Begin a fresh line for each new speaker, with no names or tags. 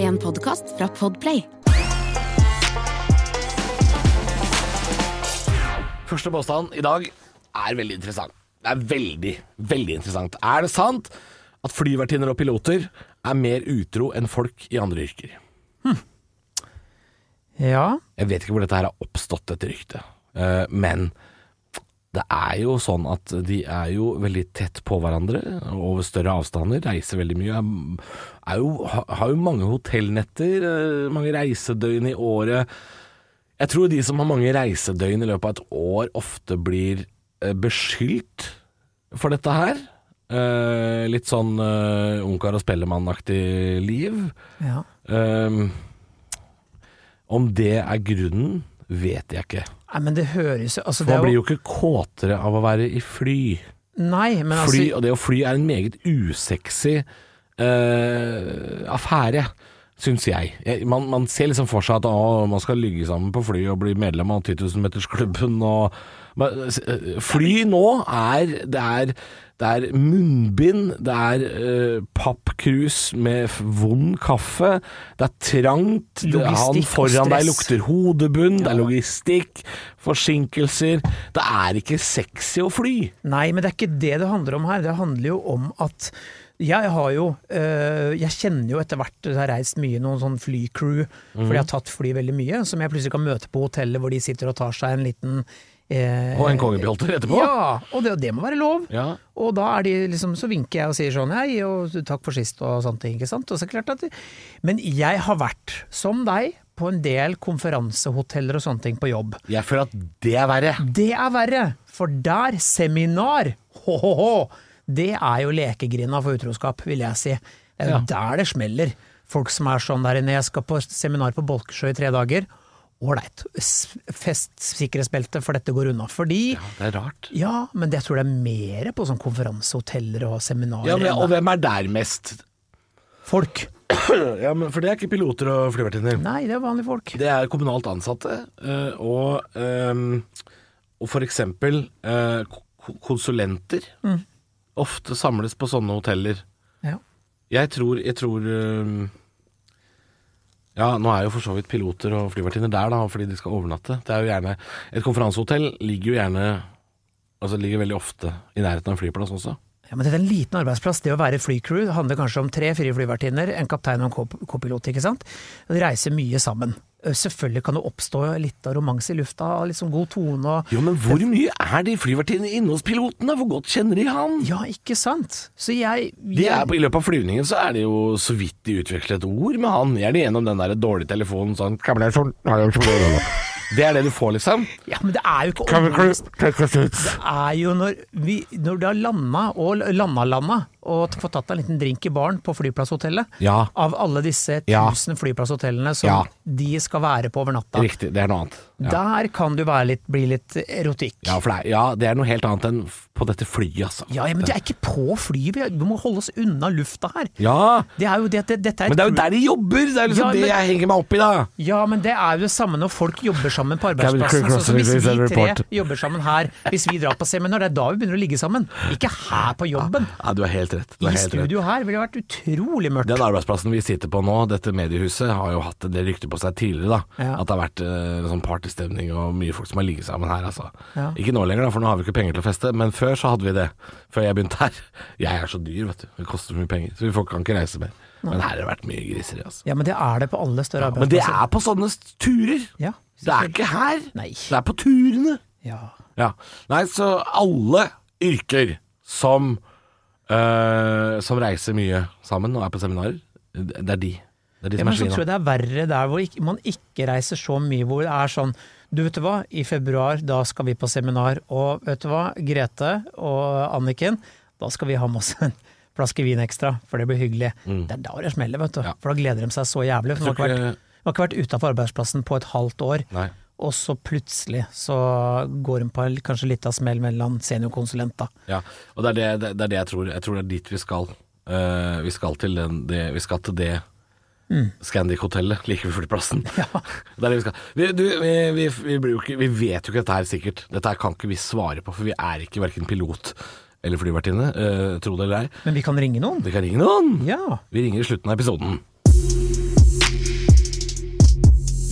en podkast fra Podplay.
Første påstand i dag er veldig interessant. Det er veldig, veldig interessant. Er det sant at flyvertinner og piloter er mer utro enn folk i andre yrker?
Ja.
Jeg vet ikke hvor dette her har oppstått, dette ryktet. Eh, men det er jo sånn at de er jo veldig tett på hverandre, over større avstander, reiser veldig mye. Er- Er jo, ha- har jo mange hotellnetter, eh, mange reisedøgn i året. Jeg tror de som har mange reisedøgn i løpet av et år, ofte blir eh, beskyldt for dette her. Eh, litt sånn eh, ungkar og spellemann-aktig liv.
ja.
Ehm, om det er grunnen, vet jeg ikke.
Nei, men det høres jo altså, det
Man
er
blir jo
jo,
ikke kåtere av å være i fly.
Nei, men altså
fly og det å fly er en meget usexy eh, affære, syns jeg. jeg man, man ser liksom for seg at å, man skal ligge sammen på fly og bli medlem av 10 000-metersklubben og men, s- eh, Fly nå er Det er, det er munnbind, det er eh, pappkrus med f- vond kaffe, det er trangt, det, han
Logistikk og
foran deg
stress.
lukter lukter hodebunn, det er logistikk, forsinkelser. Det er ikke sexy å fly.
Nei, men det er ikke det det handler om her. Det handler jo om at jeg har jo øh, Jeg kjenner jo etter hvert Jeg har reist mye i noen sånn flycrew, fordi jeg
Mhm.
har tatt fly veldig mye, som jeg plutselig kan møte på hotellet hvor de sitter og tar seg en liten eh,
Og en kongebjolter etterpå.
Ja, og det, og det må være lov.
Ja.
Og da er de liksom, så vinker jeg og sier sånn hei, og takk for sist og sånne ting. ikke sant? Og så er det klart at, men jeg har vært, som deg, på en del konferansehoteller og sånne ting på jobb.
Jeg føler at det er verre.
Det er verre, for der seminar, ho-ho-ho, det er jo lekegrinda for utroskap, vil jeg si. Det er jo der det smeller. Folk som er sånn der inne, jeg skal på seminar på Bolkesjø i tre dager. Ålreit, s- fest sikkerhetsbeltet, for dette går unna. Fordi
Det er rart.
ja, men jeg tror det er mer på sånn konferansehoteller og seminarer
Ja, men,
enn
og
det
hvem er der mest?
er folk.
Ja, men, for det er ikke piloter og flyvertinner.
Nei, det er vanlige folk.
Det er kommunalt ansatte, eh, og, ehm, og for eksempel eh, ko- konsulenter. Ofte samles på sånne hoteller.
Ja.
Jeg tror, jeg tror øhm, Ja, nå er jo for så vidt piloter og flyvertinner der, da, fordi de skal overnatte. Det er jo gjerne Et konferansehotell ligger jo gjerne Altså ligger veldig ofte i nærheten av en flyplass også.
Ja, men dette er en liten arbeidsplass. Det å være flycrew det handler kanskje om tre-fire flyvertinner, en kaptein og en kop- kopilot, ikke sant. De reiser mye sammen. Ø, Selvfølgelig kan det oppstå litt av romanse i lufta, og liksom god tone og
Jo, men hvor mye er de flyvertinnene inne hos piloten, da? Hvor godt kjenner de han?
Ja, ikke sant? Så jeg,
De
jeg
er, på- I løpet av flyvningen så er det jo så vidt de utveksler et ord med han. Jeg er det gjennom den der dårlige telefonen sånn Det er det du får, liksom?
Ja, men det er jo ikke omgående- er jo når, vi, når du har landa og landa-landa og t- fått tatt deg en liten drink i baren på flyplasshotellet
Ja.
Av alle disse
Ja.
tusen flyplasshotellene som
Ja.
de skal være på over natta.
Riktig, det er noe annet. Ja.
Der kan du være litt, bli litt erotikk.
Ja, for det er, ja, det er noe helt annet enn f- på dette flyet, altså.
Ja, ja, men det er ikke på flyet, vi- vi må holde oss unna lufta her.
Ja,
Det er jo det, det, dette er
men det er jo der de jobber! Det er liksom
Ja, men-
det jeg henger meg opp i, da.
Ja, men det er jo det samme når folk jobber sammen på
Cabin crew
arbeidsplassen. Sånn som hvis
crossing
vi tre
report.
jobber sammen her, hvis vi drar på seminar, det er da vi begynner å ligge sammen. Ikke her på jobben.
Ja, du er helt rett. Du
I
er helt rett.
studio her ville det vært utrolig mørkt.
Den arbeidsplassen vi sitter på nå, dette mediehuset, har jo hatt det ryktet på seg tidligere, da.
Ja.
At det har vært eh, sånn partystemning og mye folk som har ligget sammen her, altså.
Ja.
Ikke nå lenger, da, for nå har vi ikke penger til å feste, men før så hadde vi det. Før jeg begynte her. Jeg er så dyr, vet du. Det koster for mye penger, så vi folk kan ikke reise mer. Men her har det vært mye griseri, altså.
Ja, men det er det på alle større
Men det
arbeidsplasser.
er på sånne s- turer.
altså. Ja,
Det er ikke her.
Nei.
Det er på turene.
Ja.
Ja. Nei, så alle yrker som eh, Som reiser mye sammen og er på seminarer, det er de. Det er de
Ja,
som
men
er
så tror
svina.
jeg det er verre der hvor ikk- man ikke reiser så mye, hvor det er sånn Du vet du hva, i februar da skal vi på seminar, og vet du hva, Grete og Anniken, da skal vi ha med oss en flaske vin ekstra, for det blir hyggelig. Det er da det smeller, vet du.
Mm. Ja.
For da gleder de seg så jævlig. For de
Jeg
har
tror
ikke
ikke-
vært, de har ikke vært utafor arbeidsplassen på et halvt år.
Nei.
Og så plutselig så går hun på en- kanskje litt av smell med en eller annen seniorkonsulent, da.
Ja, og det er det, det, det er det jeg tror. Jeg tror det er dit vi skal. Eh, vi skal til den, det, vi skal til det
Mm.
Scandic-hotellet like ved flyplassen. Det er det vi skal. Vi, du, vi, vi, vi, blir jo ikke, vi vet jo ikke dette her sikkert. Dette her kan ikke vi svare på, for vi er ikke verken pilot eller flyvertinne, eh, tro det eller ei.
Men vi kan ringe noen.
Vi kan ringe noen.
Ja.
Vi ringer i slutten av episoden.